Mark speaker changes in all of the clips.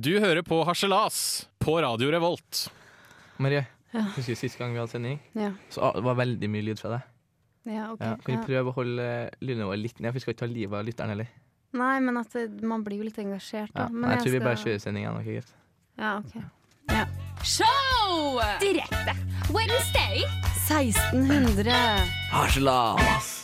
Speaker 1: Du hører på Harselas på Radio Revolt.
Speaker 2: Marie,
Speaker 3: Ja.
Speaker 2: husker du sist gang vi hadde sending?
Speaker 3: Ja,
Speaker 2: Så ah, det var veldig mye lyd fra deg.
Speaker 3: ja ok.
Speaker 2: Ja. Kan
Speaker 3: Ja.
Speaker 2: vi prøve å holde lydnivået litt ned, for vi skal ikke ta livet av lytteren heller.
Speaker 3: Nei, men at det, man blir jo litt engasjert. Da.
Speaker 2: Ja.
Speaker 3: Men
Speaker 2: Nei, jeg tror vi bare
Speaker 3: skal-
Speaker 2: kjører sendingen. ok, greit.
Speaker 3: Ja, ok. Ja.
Speaker 4: Show! Direkte. Wednesday.
Speaker 3: 1600!
Speaker 2: Harselas!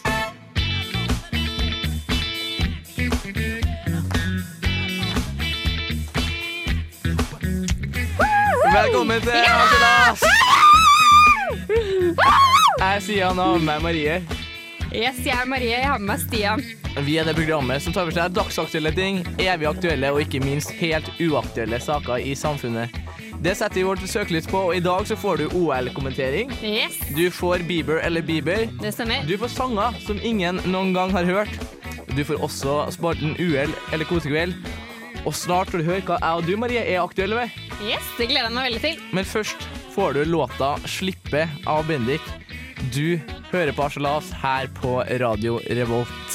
Speaker 2: Velkommen til Harselas! Jeg er Sian og med meg Marie.
Speaker 4: Yes, jeg er Marie. Jeg har med meg Stian.
Speaker 2: Vi er det programmet som tar for seg dagsaktuelle ting, evig aktuelle og ikke minst helt uaktuelle saker i samfunnet. Det setter vi vårt søkelys på, og i dag så får du OL-kommentering.
Speaker 4: Yes,
Speaker 2: Du får Bieber eller Bieber.
Speaker 4: det stemmer.
Speaker 2: Du får sanger som ingen noen gang har hørt. Du får også spalten uhell eller kosekveld. Og snart får du høre hva jeg og du, Marie, er aktuelle med.
Speaker 4: Yes, Det gleder jeg meg veldig til.
Speaker 2: Men først får du låta 'Slippe' av Bendik. Du hører på Arselas her på Radio Revolt.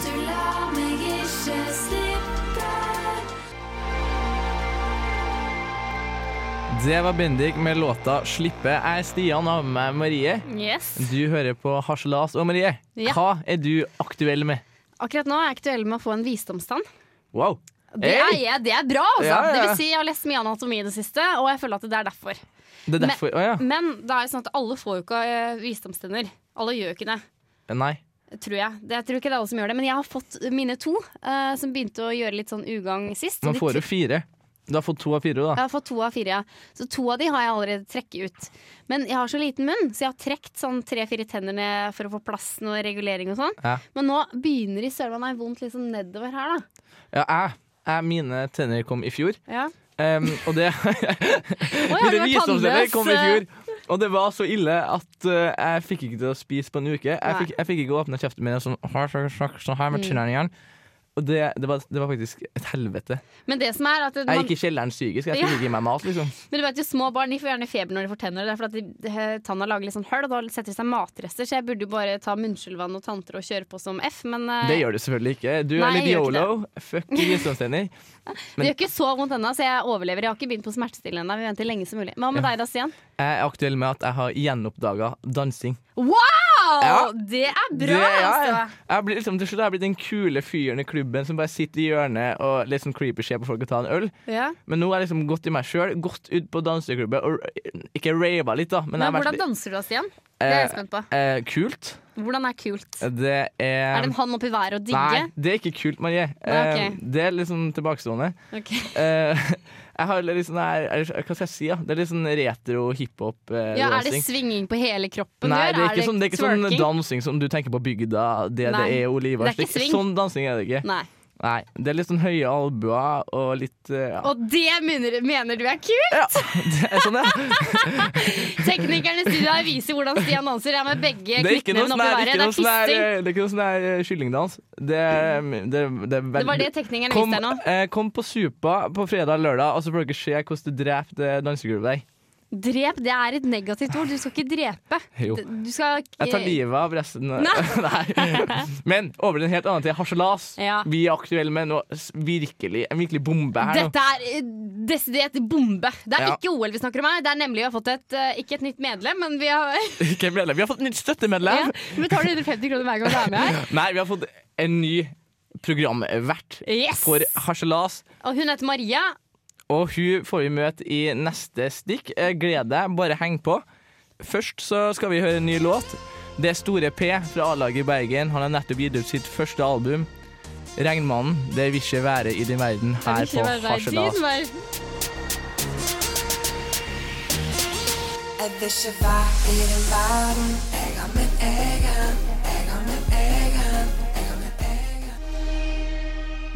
Speaker 5: Du lar meg ikke slippe.
Speaker 2: Det var Bendik med låta 'Slippe'. Jeg er Stian og har med meg Marie.
Speaker 4: Yes.
Speaker 2: Du hører på Harselas. Og Marie,
Speaker 4: Ja.
Speaker 2: hva er du aktuell med?
Speaker 4: Akkurat nå er jeg aktuell med å få en visdomstann.
Speaker 2: Wow.
Speaker 4: Det er,
Speaker 2: Hey!
Speaker 4: jeg, det er bra, altså.
Speaker 2: Ja, ja, ja.
Speaker 4: Det vil si, jeg har lest mye anatomi i det siste, og jeg føler at det er derfor.
Speaker 2: Det er derfor Å ja.
Speaker 4: Men det er jo sånn at alle får jo ikke eh, visdomstenner. Alle gjør jo ikke det.
Speaker 2: Nei.
Speaker 4: Tror jeg. Det, jeg tror ikke det er alle som gjør det, men jeg har fått mine to, eh, som begynte å gjøre litt sånn ugagn sist.
Speaker 2: Man
Speaker 4: De
Speaker 2: får jo fire. Du har fått to av fire, da.
Speaker 4: Jeg har fått to av fire, ja. Så to av de har jeg allerede trekket ut. Men jeg har så liten munn, så jeg har trekt sånn tre-fire tenner ned for å få plass og regulering og sånn.
Speaker 2: Ja.
Speaker 4: Men nå begynner i søren meg vondt liksom nedover her, da.
Speaker 2: Ja, jeg, jeg mine tenner kom i fjor.
Speaker 4: Ja.
Speaker 2: Um, og det
Speaker 4: Oi, har du
Speaker 2: Mine
Speaker 4: vært
Speaker 2: visdomstenner
Speaker 4: tannløs? eh,
Speaker 2: kom i fjor. Og det var så ille at uh, jeg fikk ikke til å spise på en uke. Jeg fikk, jeg fikk ikke åpne kjeften min og sånn, har så- så- sånn
Speaker 4: Mm.
Speaker 2: her med tennene igjen. Og det, det, var, det var faktisk et helvete.
Speaker 4: Men det som er at
Speaker 2: Jeg
Speaker 4: man,
Speaker 2: gikk i kjelleren psykisk. Jeg
Speaker 4: Ja.
Speaker 2: fikk ikke i meg mat, liksom.
Speaker 4: men du vet jo, små barn de får gjerne feber når de får tenner. og Det er fordi at de- eh, tanna lager litt sånn høl, og da setter det seg matrester. Så jeg burde jo bare ta munnskyllvann og tanntråd og kjøre på som F, men eh,
Speaker 2: Det gjør du selvfølgelig ikke. Du
Speaker 4: Nei,
Speaker 2: er litt
Speaker 4: jeg gjør ikke
Speaker 2: yolo. Fuck visdomstenner.
Speaker 4: det gjør ikke så vondt ennå, så jeg overlever. Jeg har ikke begynt på smertestillende ennå. Vi venter lenge som mulig. Men Hva med deg da, Stian?
Speaker 2: Jeg er aktuell med at jeg har gjenoppdaga dansing.
Speaker 4: Wow!
Speaker 2: Ja.
Speaker 4: Det er bra,
Speaker 2: Det- ja,
Speaker 4: altså.
Speaker 2: ja. Jeg blir liksom, til slutt har jeg blitt den kule fyren i klubben som bare sitter i hjørnet og litt sånn creepy ser på folk og tar en øl.
Speaker 4: Ja.
Speaker 2: Men nå har jeg liksom gått i meg sjøl, gått ut på danseklubben og ikke rava litt, da. Men,
Speaker 4: Men
Speaker 2: jeg har vært
Speaker 4: hvordan
Speaker 2: litt-
Speaker 4: danser du da, Stian? Det er jeg spent på.
Speaker 2: eh, kult.
Speaker 4: Hvordan er kult?
Speaker 2: Det er
Speaker 4: Er det en hånd oppi været og digge?
Speaker 2: Nei, det er ikke kult, Marie.
Speaker 4: Nei, ok.
Speaker 2: Eh, Det er liksom tilbakestående.
Speaker 4: Ok.
Speaker 2: Eh, jeg har litt sånn her eller Hva skal jeg si? da? Det er litt sånn retro hiphop-dansing.
Speaker 4: Ja, er det svinging på hele kroppen
Speaker 2: Nei,
Speaker 4: du
Speaker 2: det
Speaker 4: gjør?
Speaker 2: er ikke, sånn, det er ikke sånn
Speaker 4: twerking?
Speaker 2: dansing som du tenker på bygda, det det
Speaker 4: Nei.
Speaker 2: er Olivas.
Speaker 4: Det er ikke
Speaker 2: Det er ikke
Speaker 4: swing.
Speaker 2: Sånn dansing er det ikke.
Speaker 4: Nei.
Speaker 2: Nei, det er litt sånn høye albuer og litt eh, ja.
Speaker 4: Og det mener, mener du er kult?
Speaker 2: ja, det er sånn, ja.
Speaker 4: Teknikerne i studio her viser hvordan Stian danser. Jeg er med begge
Speaker 2: Det er ikke noe
Speaker 4: knyttneven
Speaker 2: sånn her,
Speaker 4: oppi
Speaker 2: ikke
Speaker 4: været. Det
Speaker 2: noe
Speaker 4: er
Speaker 2: sånn her,
Speaker 4: fisting.
Speaker 2: eh, det er ikke noe sånn her eh, kyllingdans. Det er, det, er- det er veldig
Speaker 4: Det var det teknikerne
Speaker 2: Kom,
Speaker 4: viste deg nå.
Speaker 2: eh, kom på Supa på fredag og lørdag, og så får dere se hvordan du dreper det dansegulvet der.
Speaker 4: Drep, det er et negativt ord. Du skal ikke drepe.
Speaker 2: Jo.
Speaker 4: Du skal
Speaker 2: Jeg tar livet av resten.
Speaker 4: Nei.
Speaker 2: Nei. Men over til en helt annen ting. Harselas.
Speaker 4: Ja.
Speaker 2: Vi er aktuelle med noe s- virkelig, en virkelig bombe her nå.
Speaker 4: Dette er eh, desidert bombe. Det er
Speaker 2: Ja.
Speaker 4: ikke OL vi snakker om her. Det er nemlig vi har fått et, eh, ikke et nytt medlem, men vi har
Speaker 2: Ikke medlem. Vi har fått nytt støttemedlem.
Speaker 4: ja, Vi betaler 150 kroner hver gang du er med her.
Speaker 2: Nei, vi har fått en ny programvert
Speaker 4: Yes!
Speaker 2: for Harselas.
Speaker 4: Og hun heter Maria.
Speaker 2: Og hun får vi møte i neste stikk. Eh, Gled deg, bare heng på. Først så skal vi høre en ny låt. Det er Store P fra A-laget i Bergen. Han har nettopp gitt ut sitt første album. 'Regnmannen'. Det vil ikke være i din verden her på
Speaker 4: Ikke vær redd,
Speaker 2: Harselas.
Speaker 4: din vær-
Speaker 5: Jeg vil ikke være i den verden. Jeg har min egen. Jeg har min egen. Jeg har min egen.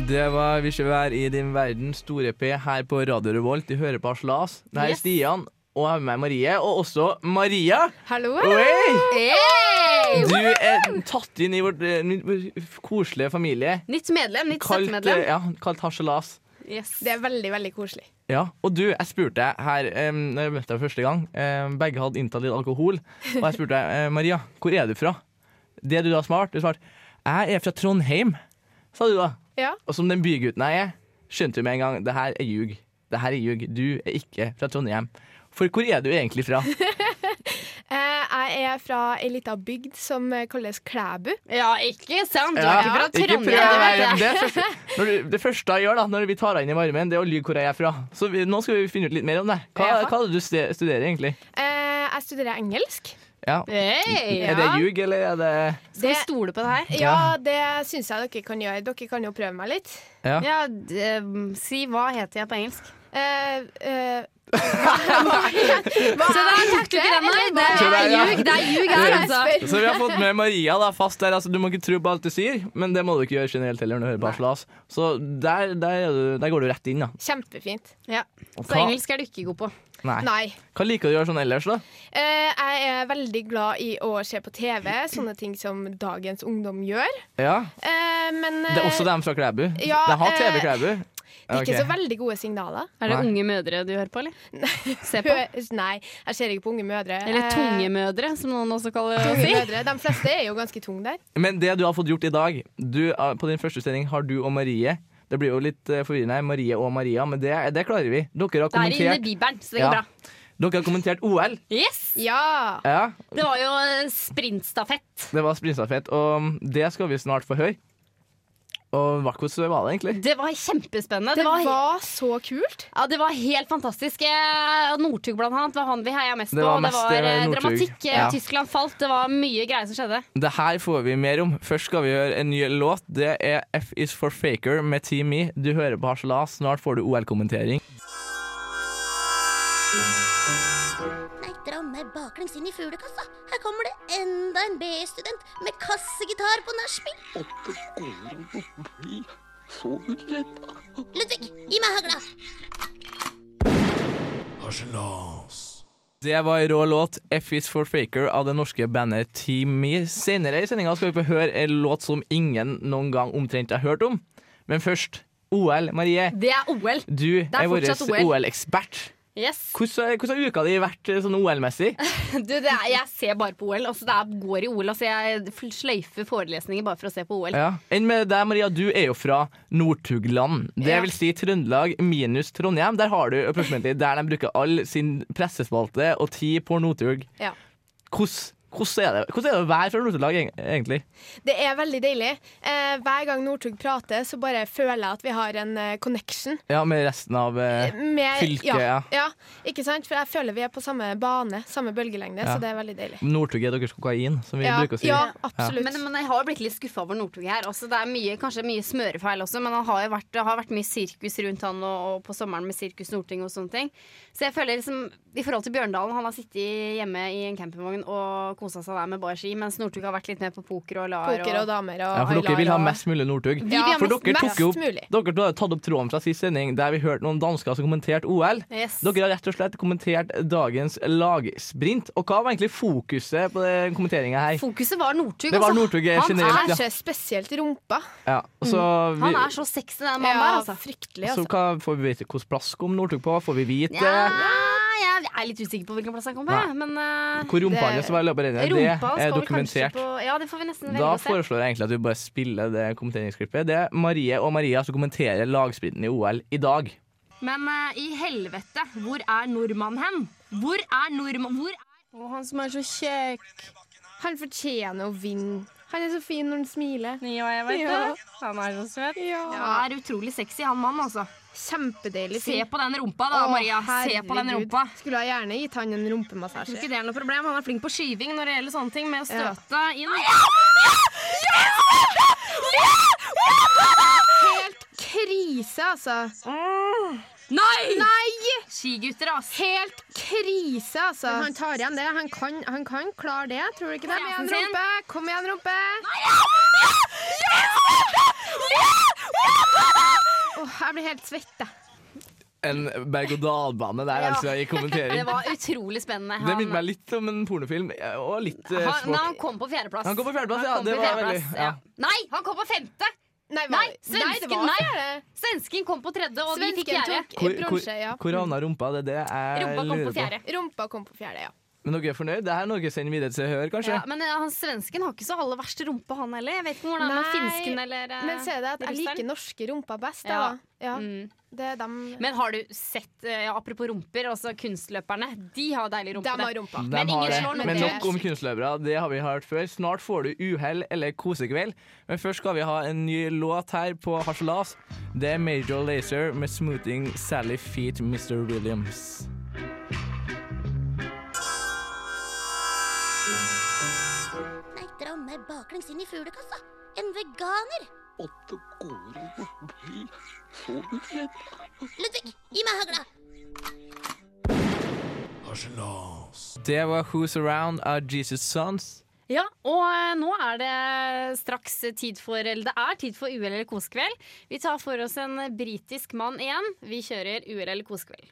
Speaker 2: Det var 'Vil ikke være i din verden', Store P her på Radio Revolt. De hører på Harselas. Det her er
Speaker 4: Yes.
Speaker 2: Stian, og jeg har med meg Marie, og også Maria.
Speaker 4: Hallo!
Speaker 2: Oi!
Speaker 4: Hey!
Speaker 2: Du er tatt inn i vårt, eh, ny- vår koselige familie.
Speaker 4: Nytt medlem. Nytt
Speaker 2: Kalt, eh,
Speaker 4: støttemedlem.
Speaker 2: ja, kalt harselas.
Speaker 4: Yes.
Speaker 6: Det er veldig, veldig koselig.
Speaker 2: Ja, og du, jeg spurte deg her um, Når jeg møtte deg første gang em, Begge hadde inntatt litt alkohol Og jeg spurte deg, eh, Maria, hvor er du fra? Det du da smart, du svarte Jeg er fra Trondheim, sa du da
Speaker 6: Ja.
Speaker 2: Og som den bygutten jeg er skjønte jo med en gang det her er ljug. Det her er ljug. Du er ikke fra Trondheim. For hvor er du egentlig fra?
Speaker 6: Eh, Jeg er fra ei lita bygd som eh, kalles Klæbu.
Speaker 4: Ja, ikke sant? Du
Speaker 2: Ja,
Speaker 4: er ikke fra
Speaker 2: ikke
Speaker 4: Trondheim,
Speaker 2: prøv.
Speaker 4: du vet det.
Speaker 2: Det, første, når du, det første jeg gjør da når vi tar deg inn i varmen, det er å lyve hvor jeg er fra. Så vi, nå skal vi finne ut litt mer om deg. Hva,
Speaker 6: Ja.
Speaker 2: hva er det du ste- studerer egentlig?
Speaker 6: Eh, Jeg studerer engelsk.
Speaker 2: Ja.
Speaker 4: Hey, ja.
Speaker 2: Er det ljug, eller er det
Speaker 4: Skal vi stole på det her?
Speaker 6: Ja, det syns jeg dere kan gjøre. Dere kan jo prøve meg litt.
Speaker 2: Ja.
Speaker 4: Ja, d- eh, si hva heter jeg på engelsk?
Speaker 6: Eh, eh,
Speaker 4: Så der tok du ikke den, nei. Det
Speaker 2: Tror
Speaker 4: er
Speaker 2: jeg, ja.
Speaker 4: ljug, det er ljug her, altså.
Speaker 2: Så vi har fått med Maria da, fast der. Altså, du må ikke tro på alt du sier, men det må du ikke gjøre generelt heller når du hører på Aslas. Så der, der, er du- der går du rett inn, da.
Speaker 6: kjempefint.
Speaker 4: Ja.
Speaker 2: Og
Speaker 4: Så engelsk er du ikke god på.
Speaker 2: Nei.
Speaker 6: Nei.
Speaker 2: Hva liker du å gjøre sånn ellers, da?
Speaker 6: Eh, jeg er veldig glad i å se på TV, sånne ting som dagens ungdom gjør.
Speaker 2: Ja.
Speaker 6: Eh, men eh,
Speaker 2: Det er også dem fra Klæbu.
Speaker 6: ja,
Speaker 2: de har TV
Speaker 6: eh,
Speaker 2: Klæbu.
Speaker 6: det er
Speaker 2: Ok.
Speaker 6: ikke så veldig gode signaler.
Speaker 4: Er det
Speaker 2: Nei.
Speaker 4: unge mødre du hører på, eller? Se på.
Speaker 6: Hø- Nei, jeg ser ikke på unge mødre.
Speaker 4: Eller
Speaker 6: Eh,
Speaker 4: tunge mødre, som noen også kaller
Speaker 6: tunge
Speaker 4: å si.
Speaker 6: mødre. De fleste er jo ganske tunge der.
Speaker 2: Men det du har fått gjort i dag du, eh, På din første sending har du og Marie Det blir jo litt eh, forvirrende her, Marie og Maria Men det, det klarer vi Dere har
Speaker 4: Det er inne i
Speaker 2: kommentert,
Speaker 4: Bibelen, så det
Speaker 2: Ja.
Speaker 4: går bra.
Speaker 2: dere har kommentert OL
Speaker 4: Yes!
Speaker 6: Ja.
Speaker 2: Ja,
Speaker 4: Det var jo eh, sprintstafett.
Speaker 2: det var sprinstafett Og det skal vi snart få høre Og hva hvordan var det egentlig?
Speaker 4: Det var kjempespennende.
Speaker 6: Det var så kult.
Speaker 4: Ja, det var helt fantastisk. Eh, Northug blant annet var han vi heia mest
Speaker 2: Det
Speaker 4: på.
Speaker 2: var
Speaker 4: og Det
Speaker 2: mest,
Speaker 4: var eh,
Speaker 2: eh, Northug.
Speaker 4: dramatikk. Eh,
Speaker 2: Ja.
Speaker 4: Tyskland falt. Det var mye greier som skjedde.
Speaker 2: Det her får vi mer om Først skal vi høre en ny låt Det er F is for Faker med Team E Du hører på Harselas, snart får du OL-kommentering
Speaker 7: Nei, dra meg baklengs inn i fuglekassa. Her kommer det enda en B-student med kassegitar på nachspiel. Ludvig, gi meg hagla.
Speaker 2: Det var en rå låt F is for Faker av det norske bandet Team Me. Senere i sendinga skal vi få høre en låt som ingen noen gang omtrent har hørt om. Men først OL, Marie.
Speaker 4: Det er OL.
Speaker 2: Du
Speaker 4: er
Speaker 2: er, vår
Speaker 4: fortsatt OL.
Speaker 2: OL-ekspert.
Speaker 4: Yes.
Speaker 2: Hvordan hvordan har uka di vært eh, sånn OL-messig?
Speaker 4: Du, det er, jeg ser bare på OL. Altså, det er, går i OL. Altså, jeg fl- sløyfer forelesninger bare for å se på OL.
Speaker 2: Ja. Enn med deg, Maria. Du er jo fra Northugland. Det
Speaker 4: Ja.
Speaker 2: vil si Trøndelag minus Trondheim. Der har du approximately der de bruker all sin pressespalte og tid på Northug.
Speaker 6: Ja.
Speaker 2: Hvordan hvordan er det hvordan er det å være fra Northugland, egen- egentlig?
Speaker 6: Det er veldig deilig. Eh, hver gang Northug prater, så bare føler jeg at vi har en eh, connection.
Speaker 2: Ja, med resten av eh,
Speaker 6: Med,
Speaker 2: Fylket, ja.
Speaker 6: ja. ja. Ikke sant? For jeg føler vi er på samme bane, samme bølgelengde,
Speaker 2: Ja.
Speaker 6: så det er veldig deilig.
Speaker 2: Northug er deres kokain, som vi
Speaker 6: Ja,
Speaker 2: bruker å si.
Speaker 6: ja absolutt.
Speaker 4: Men, men jeg har blitt litt skuffa over Northug her. Altså, det er mye, kanskje mye smørefeil også, men han har jo vært, det har vært mye sirkus rundt han og, og på sommeren med Sirkus Norting og sånne ting. Så jeg føler liksom, i forhold til Bjørndalen, han har sittet hjemme i en campingvogn og kosa seg der med bar ski, mens Northug har vært litt mer på poker og lar.
Speaker 6: Poker og damer og
Speaker 2: Ja, for dere
Speaker 6: Aylar
Speaker 2: vil ha
Speaker 6: og-
Speaker 2: mest mulig Northug.
Speaker 4: Vi vil ha
Speaker 2: for
Speaker 4: mest-
Speaker 2: dere tok
Speaker 6: mest
Speaker 2: jo opp,
Speaker 6: mulig.
Speaker 2: dere har tatt opp tråden fra sist sending, der vi hørte noen dansker som kommenterte OL.
Speaker 4: Yes.
Speaker 2: Dere har rett og slett kommentert dagens lagsprint. Og hva var egentlig fokuset på kommenteringa her?
Speaker 4: Fokuset var Northug.
Speaker 2: Det var
Speaker 4: altså.
Speaker 2: Northug eh,
Speaker 4: han
Speaker 2: generelt,
Speaker 6: Kanskje spesielt rumpa.
Speaker 2: Ja, så vi,
Speaker 4: Mm. Han er så sexy, den mannen der, altså.
Speaker 6: fryktelig,
Speaker 2: så
Speaker 6: altså.
Speaker 2: hva får vi vite hvilken plass kom Northug på? Får vi vite
Speaker 4: Ja, jeg er litt usikker på hvilken plass han kom på, jeg, men eh,
Speaker 2: hvor rumpa hans var i løpet av rennet?
Speaker 4: rumpa
Speaker 2: Det
Speaker 4: skal
Speaker 2: er
Speaker 4: vel kanskje
Speaker 2: dokumentert.
Speaker 4: på Ja, det får vi nesten velge
Speaker 2: Da
Speaker 4: å se.
Speaker 2: foreslår jeg egentlig at du bare spiller det kommenteringsklippet. Det er Marie og Maria som kommenterer lagsprinten i OL i dag.
Speaker 4: Men eh, i helvete, hvor er nordmannen hen? Hvor er nordmann... Hvor er
Speaker 6: Å, han som er så kjekk. Han fortjener å vinne. Han er så fin når han smiler.
Speaker 4: Ja, jeg vet det. Han er så søt. Han er utrolig sexy, han mannen, altså.
Speaker 6: Kjempedeilig.
Speaker 4: Se på den rumpa, da,
Speaker 6: Å,
Speaker 4: Maria. Se på den
Speaker 6: herregud.
Speaker 4: rumpa.
Speaker 6: Skulle jeg gjerne gitt han en
Speaker 4: Jeg tror
Speaker 6: rumpemassasje.
Speaker 4: ikke det er noe problem. Han er flink på skyving når det gjelder sånne ting, med å støte inn.
Speaker 6: Helt krise, altså.
Speaker 4: Nei!
Speaker 6: Nei!
Speaker 4: Skigutter, ass.
Speaker 6: Helt krise, altså. han tar igjen det. Han kan, han kan klare det, tror du ikke det?
Speaker 4: Kom igjen,
Speaker 6: Kom igjen, rumpe! Kom igjen, rumpe! Åh, jeg blir helt svett, jeg.
Speaker 2: En berg-og-dal-bane der, altså, i kommentering.
Speaker 4: Det var utrolig spennende.
Speaker 2: Det minner meg litt om en pornofilm, og litt eh,
Speaker 4: han,
Speaker 2: språk.
Speaker 4: nei, han kom på fjerdeplass.
Speaker 2: Han kom på fjerdeplass, ja,
Speaker 4: kom
Speaker 2: det
Speaker 4: på
Speaker 2: var
Speaker 4: fjerdeplass,
Speaker 2: veldig-
Speaker 4: ja.
Speaker 2: ja.
Speaker 4: Nei, han kom på femte!
Speaker 6: Nei,
Speaker 4: Nei, svensken, nei! Svensken kom på tredje, og vi fikk
Speaker 6: Svensken
Speaker 4: fjerde.
Speaker 6: tok
Speaker 2: Hvor,
Speaker 6: bronse, ja.
Speaker 2: hvor, hvor havna rumpa? Det er det jeg
Speaker 4: Rumpa kom på
Speaker 2: lurer på.
Speaker 4: fjerde.
Speaker 6: Rumpa kom på fjerde, ja.
Speaker 2: Men dere er fornøyd? Det her er noe dere sender videre til Hør, kanskje?
Speaker 4: Ja, men eh, han svensken har ikke så aller verst rumpe, han heller. Jeg vet ikke hvordan det er med
Speaker 6: Nei,
Speaker 4: finsken eller eh,
Speaker 6: Men så er det at jeg
Speaker 4: russeren.
Speaker 6: liker norske rumpa best. Da.
Speaker 4: Ja.
Speaker 6: Ja.
Speaker 4: Mm.
Speaker 6: Det er dem
Speaker 4: Men har du sett, eh, ja, apropos rumper, altså kunstløperne. De har deilig rumpe.
Speaker 6: Dem har rumpa.
Speaker 2: De
Speaker 4: Men ingen
Speaker 2: har det.
Speaker 4: slår noen
Speaker 2: Men
Speaker 4: til.
Speaker 2: nok om kunstløpere. Det har vi hørt før. Snart får du uhell eller kosekveld. Men først skal vi ha en ny låt her på Harselas. Det er Major Lazer med 'Smoothing Sally Feet Mr. Williams'.
Speaker 7: Nei, dra meg baklengs inn i fuglekassa. En veganer. Ludvig, gi meg hagla.
Speaker 2: Det var 'Who's Around' av Jesus Sons.
Speaker 4: Ja, og eh, nå er det straks tid for Eller det er tid for uhell eller kosekveld. Vi tar for oss en britisk mann igjen. Vi kjører uhell eller kosekveld.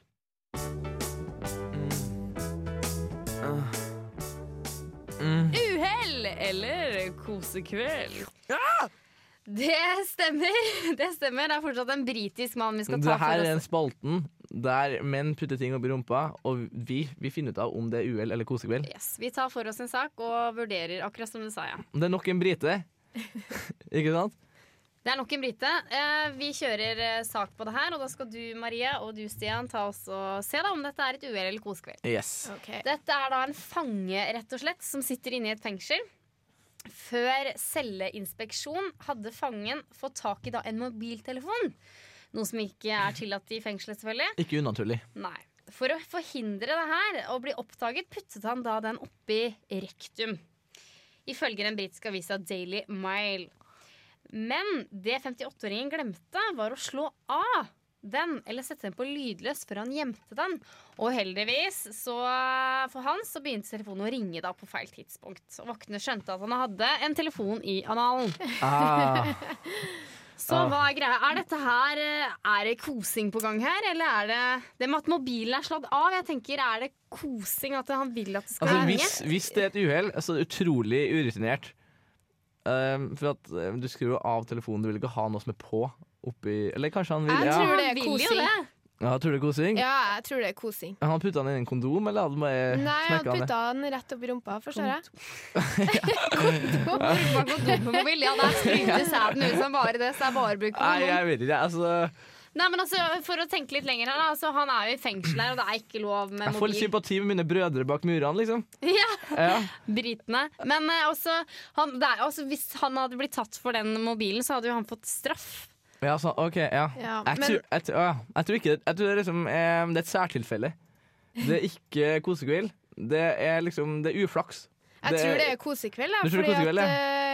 Speaker 4: Uhell eller kosekveld. Det stemmer. Det stemmer. Det er fortsatt en britisk mann vi skal ta
Speaker 2: Det her
Speaker 4: for
Speaker 2: er en
Speaker 4: oss.
Speaker 2: spalten der menn putter ting oppi rumpa, og vi, vi finner ut av om det er uhell eller kosekveld.
Speaker 4: Yes, vi tar for oss en sak og vurderer, akkurat som du sa, ja.
Speaker 2: Det er nok en brite. Ikke sant?
Speaker 4: Det er nok en brite. Eh, vi kjører eh, sak på det her, og da skal du, Marie, og du, Stian, ta oss og se da om dette er et uhell eller kosekveld.
Speaker 2: Yes.
Speaker 6: Ok.
Speaker 4: Dette er da en fange, rett og slett, som sitter inne i et fengsel. Før celleinspeksjon hadde fangen fått tak i da en mobiltelefon. Noe som ikke er tillatt i fengselet, selvfølgelig.
Speaker 2: Ikke unaturlig.
Speaker 4: Nei. For å forhindre det her og bli oppdaget, puttet han da den oppi rektum. Ifølge den britiske avisa Daily Mile. Men det 58-åringen glemte, var å slå av den, eller sette den på lydløs før han gjemte den. Og heldigvis, så for han, så begynte telefonen å ringe da på feil tidspunkt. Og vaktene skjønte at han hadde en telefon i analen.
Speaker 2: Ah.
Speaker 4: Så hva er greia? Er dette her eh, Er det kosing på gang her, eller er det Det med at mobilen er slått av, jeg tenker er det kosing at han vil at det skal
Speaker 2: Altså,
Speaker 4: ringe?
Speaker 2: hvis, hvis det er et uhell, så er det utrolig urutinert. Ehm, for at eh, du skrur jo av telefonen, du vil ikke ha noe som er på oppi Eller kanskje han vil
Speaker 6: Jeg
Speaker 2: ja.
Speaker 6: tror
Speaker 4: Han
Speaker 6: det er
Speaker 4: vil jo
Speaker 6: kosing.
Speaker 4: det.
Speaker 2: ja, tror du det er kosing?
Speaker 6: Ja, jeg tror det er kosing.
Speaker 2: Han putta den inn i en kondom, eller hadde han bare
Speaker 6: Nei, han
Speaker 2: smekka den?
Speaker 6: putta den rett opp i rumpa, forstår jeg.
Speaker 4: Bare gå dum på mobil. Ja, der sprøyter sæden ut som bare det, så det er bare bruk
Speaker 2: Nei,
Speaker 4: for noen.
Speaker 2: jeg vet ikke. Altså,
Speaker 4: Nei, men altså, for å tenke litt lenger her, da. Altså, han er jo i fengsel her, og det er ikke lov med
Speaker 2: jeg får litt
Speaker 4: mobil.
Speaker 2: sympati med mine brødre bak murene, liksom.
Speaker 4: Ja,
Speaker 2: Ja.
Speaker 4: Britene. Men eh, også, han, det er, altså, hvis han hadde blitt tatt for den mobilen, så hadde jo han fått straff.
Speaker 2: Ja, sånn, ok, ja.
Speaker 6: Ja,
Speaker 2: jeg,
Speaker 6: men-
Speaker 2: tror, jeg, tror- ja, jeg tror ikke Jeg tror det er liksom eh, Det er et særtilfelle. Det er ikke kosekveld. Det er liksom Det er uflaks.
Speaker 6: Jeg
Speaker 2: Det-
Speaker 6: tror det er kosekveld. Da,
Speaker 2: Du tror det er
Speaker 6: fordi at,
Speaker 2: kosekveld,
Speaker 6: eh,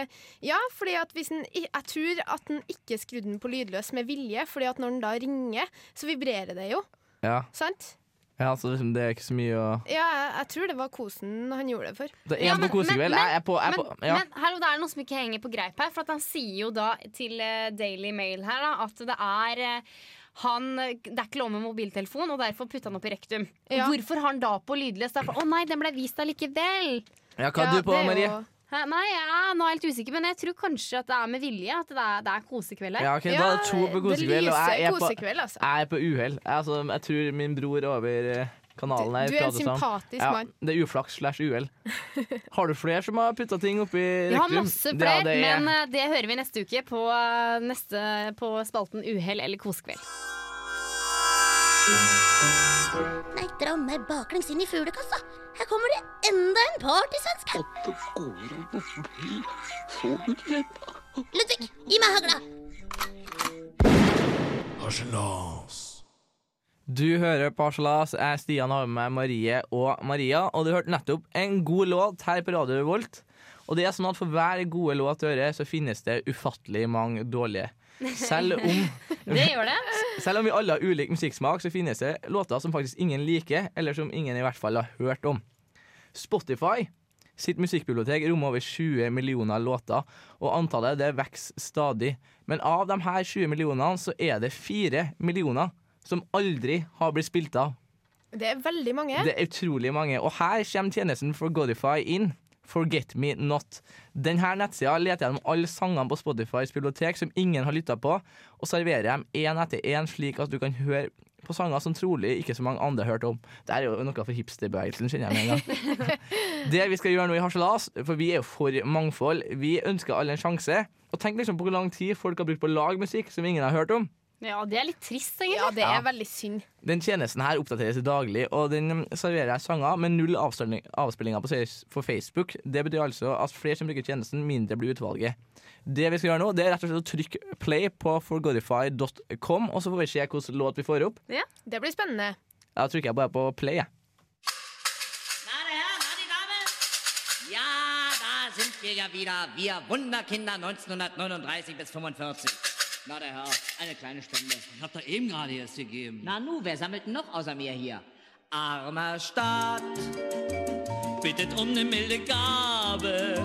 Speaker 6: ja, fordi at hvis den, i- jeg tror at den ikke skrudde den på lydløs med vilje, fordi at når den da ringer, så vibrerer det jo.
Speaker 2: Ja,
Speaker 6: Sant?
Speaker 2: ja altså, liksom, det er ikke så mye å
Speaker 6: Ja, jeg, jeg tror det var kosen han gjorde det for.
Speaker 2: Det er
Speaker 4: Ja,
Speaker 2: en på
Speaker 4: men- men-
Speaker 2: kosekveld. Jeg er på, jeg er
Speaker 4: Men,
Speaker 2: på ja.
Speaker 4: men hallo, det er noe som ikke henger på greip her. For at han sier jo da til eh, Daily Mail her da, at det er eh, han, eh, det er ikke lov med mobiltelefon, og derfor putta han opp i rektum.
Speaker 6: Ja.
Speaker 4: Hvorfor har han da på lydløs? Det er for- Å nei, den ble vist allikevel!
Speaker 2: ja, hva
Speaker 6: ja,
Speaker 2: er du på,
Speaker 6: det er
Speaker 2: Marie?
Speaker 6: jo-
Speaker 4: Hæ, Nei, jeg er nå helt usikker, men jeg tror kanskje at det er med vilje. At det er, det er kosekveld her.
Speaker 2: Ja, ok, Da er det to på kosekveld, og
Speaker 6: det
Speaker 2: jeg
Speaker 6: lyser
Speaker 2: er på,
Speaker 6: kosekveld, altså.
Speaker 2: jeg er på uhell. Jeg, altså, jeg tror min bror over eh, kanalen her
Speaker 6: Du er en
Speaker 2: prater sammen.
Speaker 6: sympatisk
Speaker 2: Ja,
Speaker 6: mann.
Speaker 2: det er uflaks slash uhell. Har du flere som har putta ting oppi rektum?
Speaker 4: Vi har masse
Speaker 2: Det-
Speaker 4: flere,
Speaker 2: det er-
Speaker 4: men eh, det hører vi neste uke på, eh, neste, på spalten Uhell eller kosekveld.
Speaker 7: Nei, dra meg baklengs inn i fuglekassa. Her kommer det enda en partysvensk. Ludvig, gi meg hagla.
Speaker 2: Du hører på Harselas. Jeg er Stian har med meg Marie og Maria. Og du hørte nettopp en god låt her på Radio Revolt. Og det er sånn at for hver gode låt du hører, så finnes det ufattelig mange dårlige. Selv om
Speaker 4: Det gjør det.
Speaker 2: Selv om vi alle har ulik musikksmak, så finnes det låter som faktisk ingen liker, eller som ingen i hvert fall har hørt om. Spotify sitt musikkbibliotek rommer over 20 millioner låter, og antallet det vokser stadig. Men av de her 20 millionene så er det 4 millioner som aldri har blitt spilt av.
Speaker 6: Det er veldig mange.
Speaker 2: Det er utrolig mange. Og her kommer tjenesten for Godify inn. Forget me not. Denne nettsida leter gjennom alle sangene på Spotifys bibliotek som ingen har lytta på, og serverer dem én etter én, slik at du kan høre på sanger som trolig ikke så mange andre har hørt om. Det er jo noe for hipsterbevegelsen, kjenner jeg med en gang. det vi skal gjøre nå i Harselas, for vi er jo for mangfold, vi ønsker alle en sjanse. Og tenk liksom på hvor lang tid folk har brukt på å lage musikk som ingen har hørt om.
Speaker 4: Ja, det er litt trist, egentlig.
Speaker 6: Ja, det er
Speaker 2: Ja.
Speaker 6: veldig synd.
Speaker 2: Den tjenesten her oppdateres daglig, og den mm, serverer jeg sanger med null avspilling- avspillinger på seis- for Facebook. Det betyr altså at flere som bruker tjenesten, mindre blir utvalget. Det vi skal gjøre nå, det er rett og slett å trykke play på forgodify.com, og så får vi se hvilken låt vi får opp.
Speaker 6: Det blir spennende.
Speaker 2: Da trykker jeg bare på play, jeg.
Speaker 8: Na, der Herr, na, die Dame. Ja, da sind wir ja wieder. Wir Wunderkinder 1939 bis 45. Na, der Herr, eine kleine Stunde.
Speaker 9: Ich hab da eben gerade erst gegeben.
Speaker 8: Na nu, wer sammelt denn noch außer mir hier? Armer Staat,
Speaker 9: bittet um eine milde Gabe.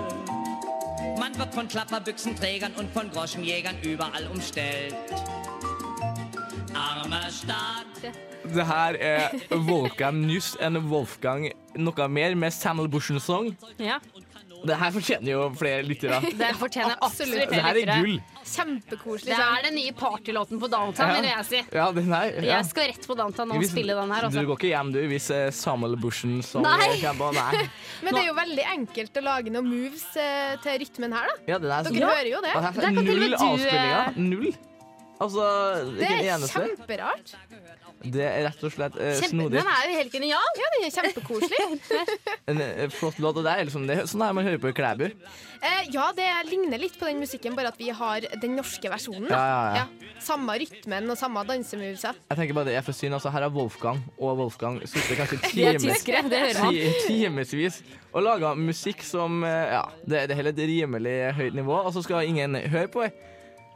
Speaker 8: man wird von Klapperbüchsenträgern und von Groschenjägern überall umstellt.
Speaker 9: Armer Staat.
Speaker 2: Det her er Wolfgang Nyss enn Wolfgang noe mer med Samuel Bushen-song.
Speaker 4: Ja,
Speaker 2: Det her fortjener jo flere lyttere.
Speaker 4: det fortjener absolutt
Speaker 2: Det her er gull.
Speaker 6: Kjempekoselig. sånn.
Speaker 4: Det er den nye partylåten på downtown, vil jeg si.
Speaker 2: Ja, den her. Ja.
Speaker 4: Jeg skal rett på downtown og
Speaker 2: Hvis-
Speaker 4: spille den her.
Speaker 2: Du
Speaker 4: Altså.
Speaker 2: går ikke hjem, du, hvis eh, Samuel Bushen-song
Speaker 4: Nei.
Speaker 2: kommer på. Nei.
Speaker 6: Men det er jo veldig enkelt å lage noen moves eh, til rytmen her, da.
Speaker 2: Ja, den er så
Speaker 6: Dere
Speaker 2: bra.
Speaker 6: hører jo det.
Speaker 2: Og her-
Speaker 4: Der kan til og med
Speaker 2: Null
Speaker 4: du, eh,
Speaker 2: avspillinger. Null. Altså,
Speaker 6: Det
Speaker 2: ikke en
Speaker 6: er
Speaker 2: eneste.
Speaker 6: kjemperart.
Speaker 2: Det er rett og slett eh,
Speaker 4: Kjempe,
Speaker 2: snodig.
Speaker 4: den er jo helt genial.
Speaker 6: Ja, den er kjempekoselig.
Speaker 2: En eh, flott låt. Og det er liksom det. Sånn er man hører på Klæbu.
Speaker 6: Eh, ja, det ligner litt på den musikken, bare at vi har den norske versjonen. da.
Speaker 2: Ja, ja, ja.
Speaker 6: Samme rytmen og samme dansemovesa.
Speaker 2: Jeg tenker bare det er for synd. Altså, her har Wolfgang og Wolfgang sittet kanskje
Speaker 4: De er
Speaker 2: timer,
Speaker 4: tyskere, det hører man.
Speaker 2: ti- timevis og laga musikk som eh, Ja, det, det er heller et rimelig høyt nivå, og så skal ingen høre på.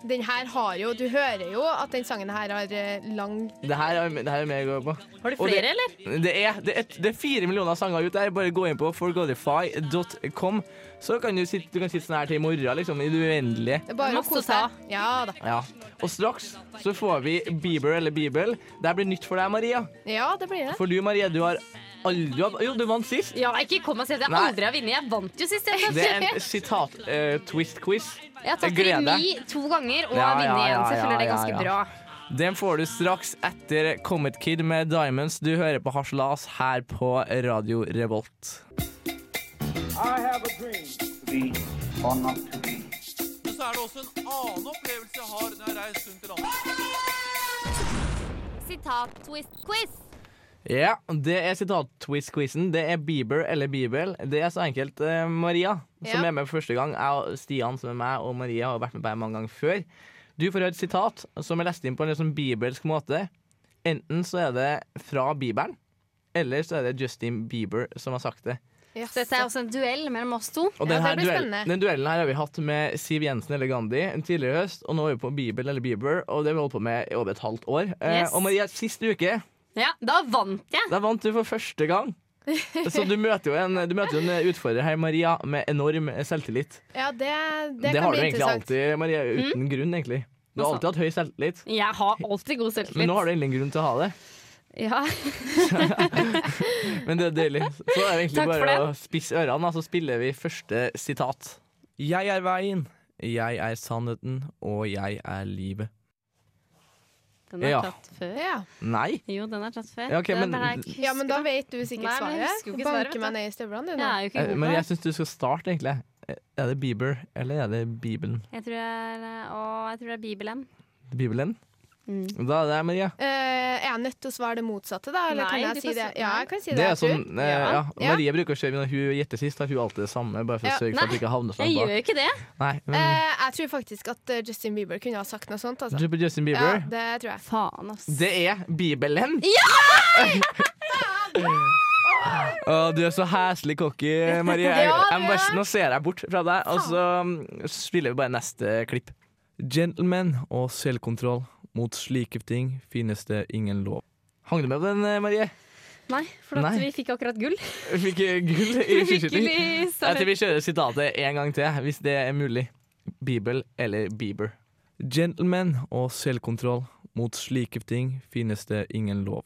Speaker 6: Den her har jo Du hører jo at den sangen her har eh, lang
Speaker 2: Det her er det her er mer å gå på.
Speaker 4: Har du
Speaker 2: Og det-
Speaker 4: flere, eller?
Speaker 2: Det er, det, er, det er fire millioner sanger ute der. Bare gå inn på forgodify.com, så kan du sitte, du kan sitte sånn her til i morgen, liksom, i det uendelige.
Speaker 6: Det er bare
Speaker 4: Masse
Speaker 6: å
Speaker 4: å
Speaker 6: kose
Speaker 4: ta.
Speaker 6: seg. Ja da.
Speaker 2: Ja. Og straks så får vi Bieber eller Bibel. Det her blir nytt for deg, Maria.
Speaker 6: Ja, det blir det.
Speaker 2: For du, Maria, du har aldri du har- Jo, du vant sist.
Speaker 4: Ja, ikke kom og si at jeg
Speaker 2: Nei.
Speaker 4: aldri har vunnet. Jeg vant jo sist.
Speaker 2: Det
Speaker 4: Jeg,
Speaker 2: er en eh, sitat-twist-quiz.
Speaker 4: jeg har tatt
Speaker 2: gleder.
Speaker 4: remis to ganger og
Speaker 2: Ja,
Speaker 4: har vunnet
Speaker 2: ja,
Speaker 4: igjen,
Speaker 2: ja,
Speaker 4: så jeg føler det er
Speaker 2: ja,
Speaker 4: ganske
Speaker 2: ja.
Speaker 4: bra.
Speaker 2: Den får du straks etter Comet Kid med Diamonds. Du hører på Harselas her på Radio Revolt.
Speaker 7: Sitat, twist, quiz.
Speaker 2: Ja, det er sitat-twist-quizen. Det er Bieber eller Bibel. Det er så enkelt. eh, Maria, som
Speaker 6: Ja.
Speaker 2: er med for første gang, jeg og Stian, som er meg, og Maria har vært med på her mange ganger før. Du får høre et sitat som er lest inn på en litt sånn bibelsk måte. Enten så er det fra Bibelen, eller så er det Justin Bieber som har sagt det.
Speaker 6: Yes.
Speaker 4: Så dette er også en duell mellom oss to.
Speaker 2: Og
Speaker 6: Ja,
Speaker 2: den,
Speaker 6: det
Speaker 2: her
Speaker 6: blir
Speaker 2: duell,
Speaker 6: spennende.
Speaker 2: den duellen her har vi hatt med Siv Jensen eller Gandhi tidligere i høst, og nå er vi på Bibel eller Bieber, og det har vi holdt på med i over et halvt år. Eh,
Speaker 4: Yes.
Speaker 2: Og Maria, sist uke
Speaker 4: Ja, da vant jeg.
Speaker 2: Der vant du for første gang. Så du møter jo en, du møter jo en utfordrer her, Maria, med enorm selvtillit.
Speaker 6: Ja, det,
Speaker 2: Det,
Speaker 6: det, kan
Speaker 2: har du
Speaker 6: bli
Speaker 2: egentlig
Speaker 6: interessant.
Speaker 2: alltid, Maria, uten grunn, egentlig. Du har
Speaker 4: Altså.
Speaker 2: alltid hatt høy selvtillit,
Speaker 4: Jeg har alltid god selvtillit.
Speaker 2: men nå har du endelig en grunn til å ha det.
Speaker 4: ja.
Speaker 2: Men det er deilig. Så er det egentlig
Speaker 4: Takk for
Speaker 2: bare å spisse ørene, og så spiller vi første sitat. Jeg er veien, jeg er sannheten, og jeg er livet.
Speaker 4: Den er
Speaker 2: Ja.
Speaker 4: tatt før.
Speaker 6: Ja.
Speaker 2: Nei.
Speaker 4: Jo, den er tatt før.
Speaker 2: Ja, ok,
Speaker 4: Det er
Speaker 2: men-
Speaker 4: bare jeg ikke
Speaker 6: ja, men da
Speaker 4: husker.
Speaker 6: vet du sikkert
Speaker 4: Nei, men jeg
Speaker 6: svaret.
Speaker 4: husker jo
Speaker 6: Du
Speaker 4: ikke svaret,
Speaker 6: banker
Speaker 4: vet
Speaker 6: meg
Speaker 4: du.
Speaker 6: ned i støvlene, du
Speaker 4: Jeg
Speaker 6: nå.
Speaker 4: er jo ikke
Speaker 2: Eh,
Speaker 4: god på
Speaker 2: Men
Speaker 4: det.
Speaker 2: jeg syns du skal starte, egentlig. Eh, Er det Bieber, eller er det Bibelen?
Speaker 4: Jeg tror det er, å, jeg tror det er Bibelen.
Speaker 2: Bibelen? Da er det Maria.
Speaker 6: Eh, er jeg nødt til å svare det motsatte, da? Eller
Speaker 4: Nei,
Speaker 6: kan
Speaker 4: du
Speaker 6: jeg si
Speaker 4: kan
Speaker 6: det?
Speaker 4: si-
Speaker 6: Ja,
Speaker 4: nei.
Speaker 6: jeg kan si det.
Speaker 2: Det er
Speaker 6: jeg tror.
Speaker 2: sånn, eh, ja.
Speaker 6: Ja.
Speaker 2: Marie bruker å kjøre når hun gjetter sist, har hun alltid det samme. Bare for å
Speaker 6: Ja.
Speaker 2: sørge for at
Speaker 4: Nei,
Speaker 2: du ikke havner
Speaker 4: Jeg
Speaker 2: sånn
Speaker 4: gjør
Speaker 2: bak.
Speaker 4: jo ikke det.
Speaker 2: Nei, men
Speaker 6: Eh, jeg tror faktisk at eh, Justin Bieber kunne ha sagt noe sånt. Altså.
Speaker 2: du på Justin
Speaker 6: Ja,
Speaker 2: Bieber.
Speaker 6: det tror jeg.
Speaker 4: Faen, ass.
Speaker 2: det er Bibelen! Ja! du er så heslig cocky, Marie. Jeg,
Speaker 6: Ja,
Speaker 2: jeg, må bare,
Speaker 6: du er.
Speaker 2: nå ser jeg bort fra deg, og så mm, spiller vi bare neste klipp. Gentlemen og selvkontroll. Mot slike ting finnes det ingen lov. Hang du med på den, eh, Marie?
Speaker 4: Nei, for at
Speaker 2: Nei.
Speaker 4: vi fikk akkurat gull.
Speaker 2: Vi fikk eh, gull i
Speaker 4: Vi fikk
Speaker 2: skiskyting.
Speaker 4: gull i
Speaker 2: Jeg tror
Speaker 4: slalåm.
Speaker 2: vi kjører sitatet en gang til, hvis det er mulig. Bibel eller Bieber. Gentlemen og selvkontroll. Mot slike ting finnes det ingen lov.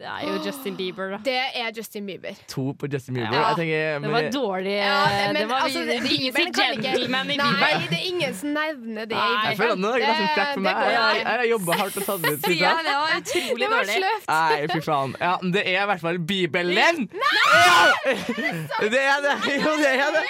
Speaker 10: Det er jo Justin Bieber, da.
Speaker 6: Det er Justin Bieber.
Speaker 2: To på Justin Bieber.
Speaker 10: Ja,
Speaker 2: jeg tenker,
Speaker 10: Det var dårlig
Speaker 6: Ja,
Speaker 10: Eh, Det var
Speaker 6: altså,
Speaker 10: det er ingen som
Speaker 6: Bieberen kan ikke-
Speaker 10: gentleman i
Speaker 6: Nei,
Speaker 10: Bieber.
Speaker 6: det er ingen som nevner det. i
Speaker 10: Nei,
Speaker 2: Jeg føler at nå er det ganske flaut for
Speaker 6: Det-
Speaker 2: meg.
Speaker 6: det går
Speaker 2: Jeg, jeg,
Speaker 6: ikke.
Speaker 2: jeg har jobba hardt og tatt ut
Speaker 10: Ja,
Speaker 2: sitat.
Speaker 10: det var utrolig
Speaker 6: Det var
Speaker 10: dårlig.
Speaker 6: sløvt.
Speaker 2: Nei, fy faen. Ja, men det er i hvert fall Bibelen! Nei! Det er det! Jo, det er det!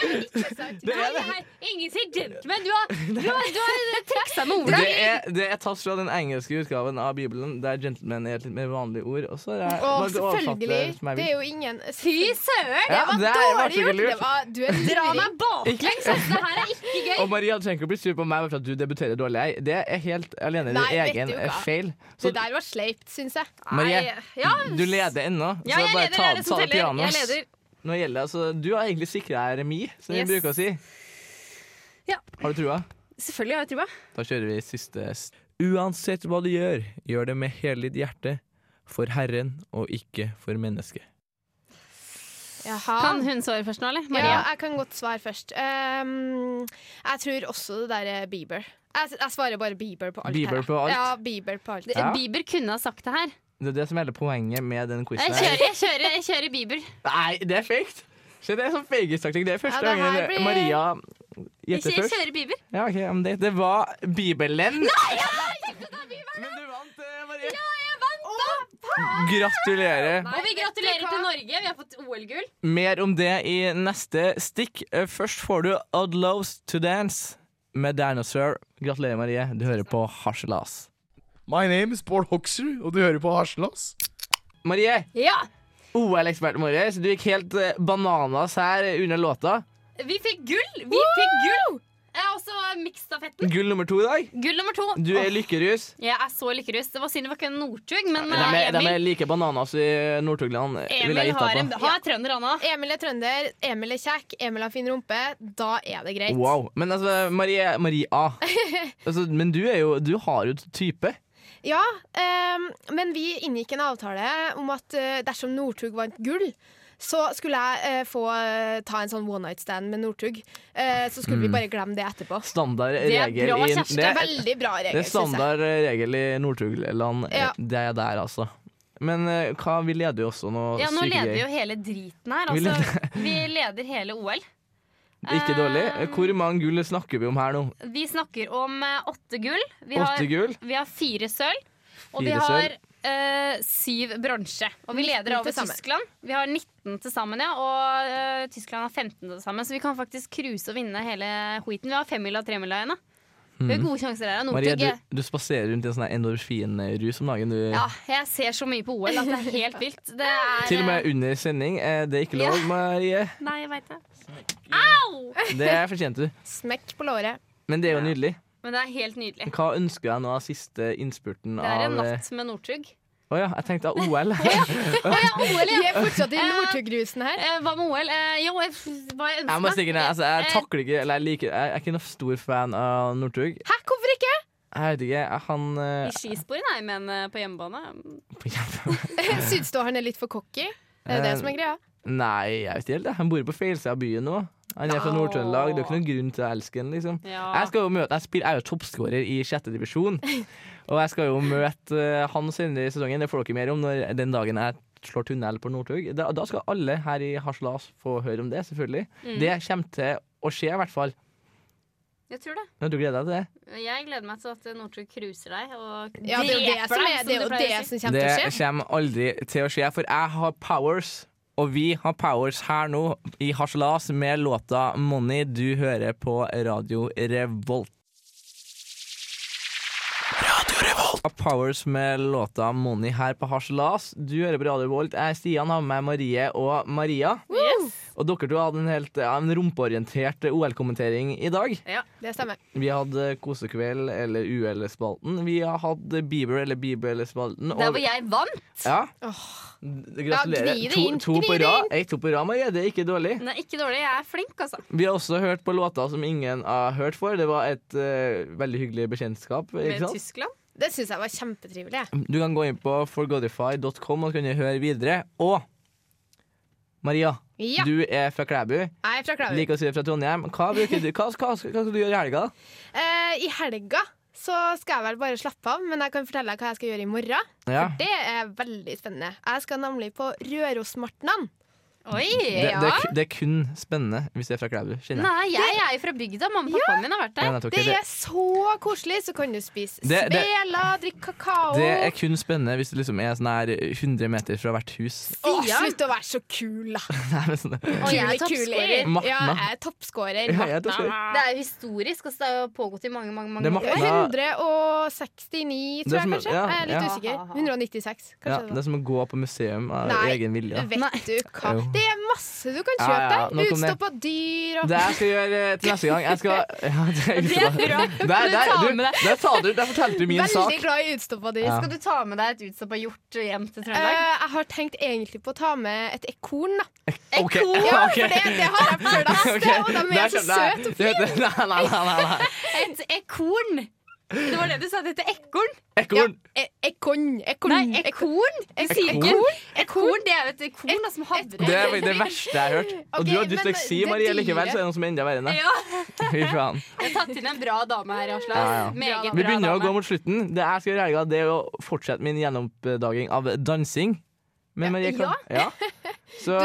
Speaker 2: Det er det.
Speaker 10: Nei, ingen sier gentleman. Du har, du har, du har triksa med ordet.
Speaker 2: Det er, det er tatt fra den engelske utgaven av Bibelen, der 'gentleman' er et litt mer vanlig ord. Og så er det bare å
Speaker 6: Å,
Speaker 2: overfatte
Speaker 6: selvfølgelig.
Speaker 2: som jeg vil.
Speaker 6: Det er jo ingen
Speaker 10: Fy søren!
Speaker 2: Ja,
Speaker 6: Det var
Speaker 2: det er- var
Speaker 6: dårlig
Speaker 2: ikke
Speaker 6: gjort.
Speaker 2: lurt.
Speaker 6: Det var, du er
Speaker 10: Dra
Speaker 6: dra
Speaker 10: meg baklengs! ass. Det her er ikke gøy.
Speaker 2: Og Maria du trenger ikke å bli sur på meg bare for at du debuterer dårlig. Jeg. Det er helt alene din
Speaker 6: Nei, vet
Speaker 2: egen
Speaker 6: du hva?
Speaker 2: eh, feil. Så
Speaker 6: Det der var sleipt, syns jeg.
Speaker 2: Marie,
Speaker 10: Ja,
Speaker 2: du leder ennå.
Speaker 10: ja,
Speaker 2: så
Speaker 10: jeg
Speaker 2: bare
Speaker 10: leder. Det
Speaker 2: ta,
Speaker 10: er det
Speaker 2: ta
Speaker 10: som
Speaker 2: det
Speaker 10: teller. Jeg
Speaker 2: pianos.
Speaker 10: leder.
Speaker 2: Nå gjelder det, altså, Du har egentlig sikra deg remis, som
Speaker 10: Yes.
Speaker 2: vi bruker å si.
Speaker 10: Ja.
Speaker 2: Har du trua?
Speaker 10: Selvfølgelig har jeg trua.
Speaker 2: Da kjører vi siste. s- Uansett hva du gjør, gjør det med hele ditt hjerte. For Herren og ikke for mennesket.
Speaker 6: Jaha.
Speaker 4: Kan hun svare først nå, eller?
Speaker 6: Ja,
Speaker 4: Maria?
Speaker 6: jeg kan godt svare først. Ehm, jeg tror også det der er Bieber. Jeg, jeg svarer bare Bieber på alt.
Speaker 2: Bieber
Speaker 6: her.
Speaker 2: på alt?
Speaker 6: Ja, Bieber på alt.
Speaker 2: Ja.
Speaker 4: Bieber kunne ha sagt det her.
Speaker 2: Det er det som er hele poenget med den quizen.
Speaker 4: Jeg
Speaker 2: her.
Speaker 4: kjører, jeg kjører, jeg kjører Bieber.
Speaker 2: Nei, det er fake! Se, det er sånn fegistaktikk. Det er første
Speaker 6: Ja, det her
Speaker 2: gangen
Speaker 6: blir-
Speaker 2: Maria
Speaker 4: Jeg
Speaker 2: gjetter
Speaker 4: kjører, jeg
Speaker 2: først.
Speaker 4: kjører Bieber.
Speaker 2: Ja, ok, ja, men det, det var Bibelen. Nei, Men du vant, eh, Marie. Gratulerer.
Speaker 10: Og vi gratulerer til Norge. Vi har fått OL-gull.
Speaker 2: Mer om det i neste stikk. Eh, Først får du Odd Loves To Dance med Dinosaur. Gratulerer, Marie. Du hører på Harselas.
Speaker 11: My name is Bård Hoksrud, og du hører på Harselas.
Speaker 2: Marie, oh,
Speaker 10: Ja!
Speaker 2: OL-eksperten vår, så du gikk helt eh, bananas her under låta.
Speaker 10: Vi fikk gull! Vi fikk gull! Jeg er også miksstafetten.
Speaker 2: Gull nummer to i dag.
Speaker 4: Gull nummer to.
Speaker 2: Du er lykkerus.
Speaker 4: Jeg er så lykkerus. Det var synd det var ikke en Northug, men
Speaker 2: De er,
Speaker 4: eh,
Speaker 2: de er
Speaker 4: Emil,
Speaker 2: like bananas i Nord-Tugland, eh, vil jeg
Speaker 4: Emil har
Speaker 2: gitte
Speaker 4: en
Speaker 2: på.
Speaker 4: har trønder, Anna.
Speaker 6: Emil er trønder, Emil er kjekk, Emil har fin rumpe. Da er det greit.
Speaker 2: Wow. Men altså, Marie, Marie A. Altså, men du, er jo, du har jo type.
Speaker 6: Ja, ehm, men vi inngikk en avtale om at eh, dersom Northug vant gull, så skulle jeg eh, få eh, ta en sånn one night stand med Northug. Eh, så skulle vi bare glemme det etterpå.
Speaker 2: Standard
Speaker 4: Det er
Speaker 2: regel
Speaker 4: bra,
Speaker 2: i Mm. det
Speaker 4: Kjersti.
Speaker 6: Det
Speaker 2: er-
Speaker 6: er veldig bra regel,
Speaker 2: Det er
Speaker 6: synes jeg.
Speaker 2: standard eh, regel i Nord-Trøndelag.
Speaker 6: Ja.
Speaker 2: Det er der, altså. Men eh, hva, vi leder jo også noe
Speaker 4: Ja, nå
Speaker 2: syke
Speaker 4: leder
Speaker 2: greier.
Speaker 4: jo hele driten her.
Speaker 2: Vi
Speaker 4: Altså, vi leder hele OL. Eh,
Speaker 2: Ikke dårlig. Hvor mange gull snakker vi om her nå?
Speaker 4: Vi snakker om eh, åtte gull. Vi har,
Speaker 2: Åtte gull?
Speaker 4: vi har fire sølv. Og vi
Speaker 2: Fire
Speaker 4: har
Speaker 2: sølv.
Speaker 4: eh, syv bronse. Og vi
Speaker 6: 19
Speaker 4: leder over
Speaker 6: til sammen.
Speaker 4: Tyskland. Vi har 19 til sammen, ja. Og eh, Tyskland har 15 til sammen. Så vi kan faktisk cruise og vinne hele heaten. Vi har femmila og tremila igjen. da. Vi har gode sjanser her. og
Speaker 2: Mhm. Marie,
Speaker 4: Northug
Speaker 2: du,
Speaker 4: er-
Speaker 2: du spaserer rundt i en sånn her endorfinrus om dagen. Du.
Speaker 4: Ja, jeg ser så mye på OL at det er helt vilt. Det er,
Speaker 2: Til og med under sending. eh, Det er ikke lov,
Speaker 4: Ja.
Speaker 2: Marie.
Speaker 4: Nei, jeg vet det.
Speaker 2: Det fortjente du.
Speaker 6: Smekk på låret.
Speaker 2: Men det er jo nydelig.
Speaker 4: Men det er helt nydelig.
Speaker 2: Hva ønsker jeg nå av siste innspurten
Speaker 4: Det er en
Speaker 2: av eh,
Speaker 4: natt med Northug.
Speaker 2: Å ja, jeg tenkte av OL.
Speaker 6: Vi er fortsatt i Northug-rusen her.
Speaker 4: Eh, hva med OL? Eh, jo, jeg, f- hva
Speaker 2: Jeg
Speaker 4: jeg
Speaker 2: må
Speaker 4: ønsker Eh,
Speaker 2: stikke ned. Altså, jeg takler ikke Eller jeg liker Jeg er ikke noen stor fan av Northug.
Speaker 6: Hæ, hvorfor ikke?
Speaker 2: Jeg vet ikke. Han eh,
Speaker 4: I skisporet, nei, men eh, på hjemmebane.
Speaker 2: på hjemme-
Speaker 6: Syns du han er litt for cocky? Det er det som er greia.
Speaker 2: Nei, jeg vet ikke helt. jeg. Han bor på feil side av byen nå. Han er fra
Speaker 4: Nå.
Speaker 2: Nord-Trøndelag. Det er ikke noen grunn til å elske han, liksom.
Speaker 4: Ja.
Speaker 2: Jeg, skal jo møte, jeg, spiller, jeg er jo toppskårer i sjette divisjon, og jeg skal jo møte eh, han senere i sesongen. Det får dere mer om når, den dagen jeg slår tunnel på Northug. Da, da skal alle her i Haslas få høre om det, selvfølgelig. Det kommer til å skje, i hvert fall.
Speaker 4: Jeg tror det.
Speaker 2: Ja, Du gleder deg til det?
Speaker 4: Jeg gleder meg til at Northug cruiser deg og
Speaker 6: Ja, det er jo det
Speaker 4: dreper
Speaker 6: som,
Speaker 4: deg,
Speaker 6: er, det er
Speaker 4: du
Speaker 6: jo
Speaker 4: pleier
Speaker 6: det
Speaker 4: å si.
Speaker 6: som kommer til å
Speaker 2: Det
Speaker 6: skje.
Speaker 2: kommer aldri til å skje, for jeg har powers. Og vi har powers her nå i Harselas med låta 'Money'. Du hører på Radio Revolt. Radio Revolt. Powers med låta 'Money' her på Harselas. Du hører på Radio Revolt. Jeg er Stian, har med meg Marie og Maria. Og dere to hadde en helt ja, en rumpeorientert OL-kommentering i dag.
Speaker 6: Det stemmer.
Speaker 2: Vi hadde Kosekveld eller UL-spalten. Vi har hatt Bieber eller Bieber-spalten.
Speaker 4: Der hvor jeg vant?
Speaker 2: Ja.
Speaker 6: Ja,
Speaker 2: Gratulerer.
Speaker 6: gni det
Speaker 2: to,
Speaker 6: inn,
Speaker 2: to
Speaker 6: gni
Speaker 2: på
Speaker 6: det
Speaker 2: rad. Ei, to på rad, Marie. Det er ikke dårlig.
Speaker 4: Nei, ikke dårlig. Jeg er flink, altså.
Speaker 2: Vi har også hørt på låter som ingen har hørt for. Det var et eh, veldig hyggelig bekjentskap.
Speaker 4: Med
Speaker 2: Ikke sant?
Speaker 4: Tyskland.
Speaker 6: Det syns jeg var kjempetrivelig. jeg.
Speaker 2: Du kan gå inn på forgodify.com og så kan du høre videre. Og Maria,
Speaker 6: Ja,
Speaker 2: du er fra Klæbu.
Speaker 6: jeg er fra Klaver.
Speaker 2: Liker å si det fra Trondheim. Hva, bruker du, hva, hva, hva skal du gjøre i helga?
Speaker 6: Eh, I helga så skal jeg vel bare slappe av, men jeg kan fortelle deg hva jeg skal gjøre i morgen.
Speaker 2: Ja.
Speaker 6: For det er veldig spennende. Jeg skal nemlig på Rørosmartnan.
Speaker 4: Oi,
Speaker 2: Det, det, er, ku- det er kun spennende hvis det er fra Klæbu. kjenner jeg.
Speaker 4: Nei, jeg er jo fra bygda. Mamma og pappaen min har vært
Speaker 2: Ja,
Speaker 4: der.
Speaker 2: nettopp,
Speaker 6: Det
Speaker 2: det-
Speaker 6: er så koselig, så kan du spise
Speaker 2: Det- det-
Speaker 6: speler, drikke kakao.
Speaker 2: Det er kun spennende hvis du liksom er sånn her 100 meter fra hvert hus.
Speaker 6: Å, slutt å være så kul, da.
Speaker 2: Nei, men sånn
Speaker 4: Og jeg er toppskårer.
Speaker 2: Matna.
Speaker 6: Ja, jeg er toppskårer.
Speaker 2: Ja, jeg er toppskårer.
Speaker 4: Det er jo historisk, og det har jo pågått i mange, mange,
Speaker 2: Det er
Speaker 4: mange år.
Speaker 2: Matna.
Speaker 6: 169,
Speaker 2: Det
Speaker 6: tror
Speaker 2: er som-
Speaker 6: jeg kanskje.
Speaker 2: ja,
Speaker 6: jeg er litt
Speaker 2: ja.
Speaker 6: usikker. 196, kanskje.
Speaker 2: Ja,
Speaker 6: det var.
Speaker 2: det er som å gå på museum av
Speaker 6: Nei,
Speaker 2: egen vilje. da.
Speaker 6: vet du hva.
Speaker 2: Jo.
Speaker 6: Det er masse du kan
Speaker 2: Ja,
Speaker 6: kjøpe
Speaker 2: ja,
Speaker 6: der.
Speaker 2: nok om det.
Speaker 6: Utstoppa dyr og
Speaker 2: Det jeg skal gjøre eh, til neste gang jeg skal, ja, det, er
Speaker 4: Det er
Speaker 2: ute da.
Speaker 4: bra.
Speaker 2: Der,
Speaker 4: Du
Speaker 2: der,
Speaker 4: tar
Speaker 2: du,
Speaker 4: med deg-
Speaker 2: der, sa du, der fortalte du min
Speaker 6: Veldig
Speaker 2: sak.
Speaker 6: glad i utstoppa dyr.
Speaker 2: Ja.
Speaker 4: Skal du ta med deg et utstoppa hjort hjem til
Speaker 6: Eh,
Speaker 4: Trøndelag?
Speaker 6: jeg har tenkt egentlig på å ta med et ekorn, da.
Speaker 2: Ok,
Speaker 6: Ja,
Speaker 2: ok.
Speaker 6: for det, det har jeg plass til,
Speaker 2: Ok, sånn,
Speaker 6: og de
Speaker 2: der
Speaker 6: er så
Speaker 2: skjønte jeg.
Speaker 6: søte.
Speaker 2: Det heter- Nei, nei, nei, nei, nei.
Speaker 4: Et ekorn! Det var det du sa. Det heter ekorn.
Speaker 2: Ekorn.
Speaker 6: E- Ekorn. Ekorn.
Speaker 4: Nei, ekorn! Du sier ikke
Speaker 2: Ekorn?
Speaker 4: ekorn. Det er jo et ekorn da, som havrer.
Speaker 2: Det er det verste jeg har hørt. Og
Speaker 6: Ok,
Speaker 2: du har
Speaker 6: men
Speaker 2: dysleksi,
Speaker 6: det
Speaker 2: Marie. Likevel så
Speaker 6: dyret-
Speaker 2: er det noe som er enda verre enn det.
Speaker 4: Ja,
Speaker 2: Fy faen.
Speaker 4: jeg har tatt inn en bra dame her i Aslas.
Speaker 2: Ja, ja.
Speaker 4: Meget
Speaker 2: Vi
Speaker 4: bra
Speaker 2: begynner å gå
Speaker 4: dame.
Speaker 2: mot slutten. Det jeg skal gjøre i helga, det er å fortsette min gjenoppdaging av dansing. Men Marie kan Ja. Så,
Speaker 6: Du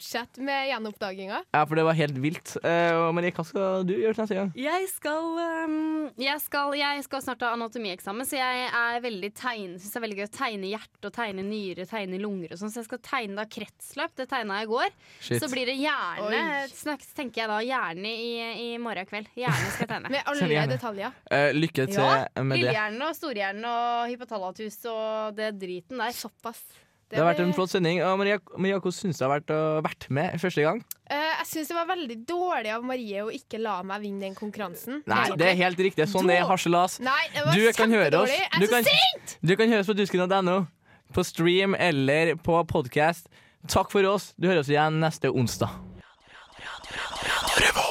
Speaker 6: skal fortsette med gjenoppdaginga.
Speaker 2: ja, for det var helt vilt. Eh, og Marie, hva skal du gjøre til neste gang?
Speaker 4: Jeg skal, um, jeg, skal, jeg skal snart ha anatomieksamen, så jeg er veldig tegn, synes det er veldig gøy å tegne hjerte og tegne nyre, tegne lunger og sånn. Så jeg skal tegne da kretsløp. Det tegna jeg i går.
Speaker 2: Shit.
Speaker 4: Så blir det hjerne,
Speaker 6: Oi.
Speaker 4: snakk- tenker jeg da, hjerne i, i morgen kveld. Hjerne skal jeg tegne.
Speaker 6: Med
Speaker 2: Kjenner
Speaker 6: alle
Speaker 2: jeg det.
Speaker 6: detaljer.
Speaker 2: Eh, lykke til
Speaker 4: ja,
Speaker 2: med det.
Speaker 4: Lillehjernen og storhjernen og hypotalatus og det driten der.
Speaker 6: Såpass.
Speaker 2: Det har vært en
Speaker 6: blir-
Speaker 2: flott sending. Og Maria, Maria hvordan syns du det har vært å vært med første gang?
Speaker 6: Eh, jeg syns det var veldig dårlig av Marie å ikke la meg vinne den konkurransen.
Speaker 2: Nei, det er helt riktig. Sånn er harselas.
Speaker 6: Nei, det var
Speaker 2: Du kan høre oss.
Speaker 6: kjempedårlig. Jeg er
Speaker 2: Du
Speaker 6: så
Speaker 2: kan, du kan høre oss på dusken.no, på stream eller på podkast. Takk for oss. Du hører oss igjen neste onsdag. Radio, radio, radio, radio, radio,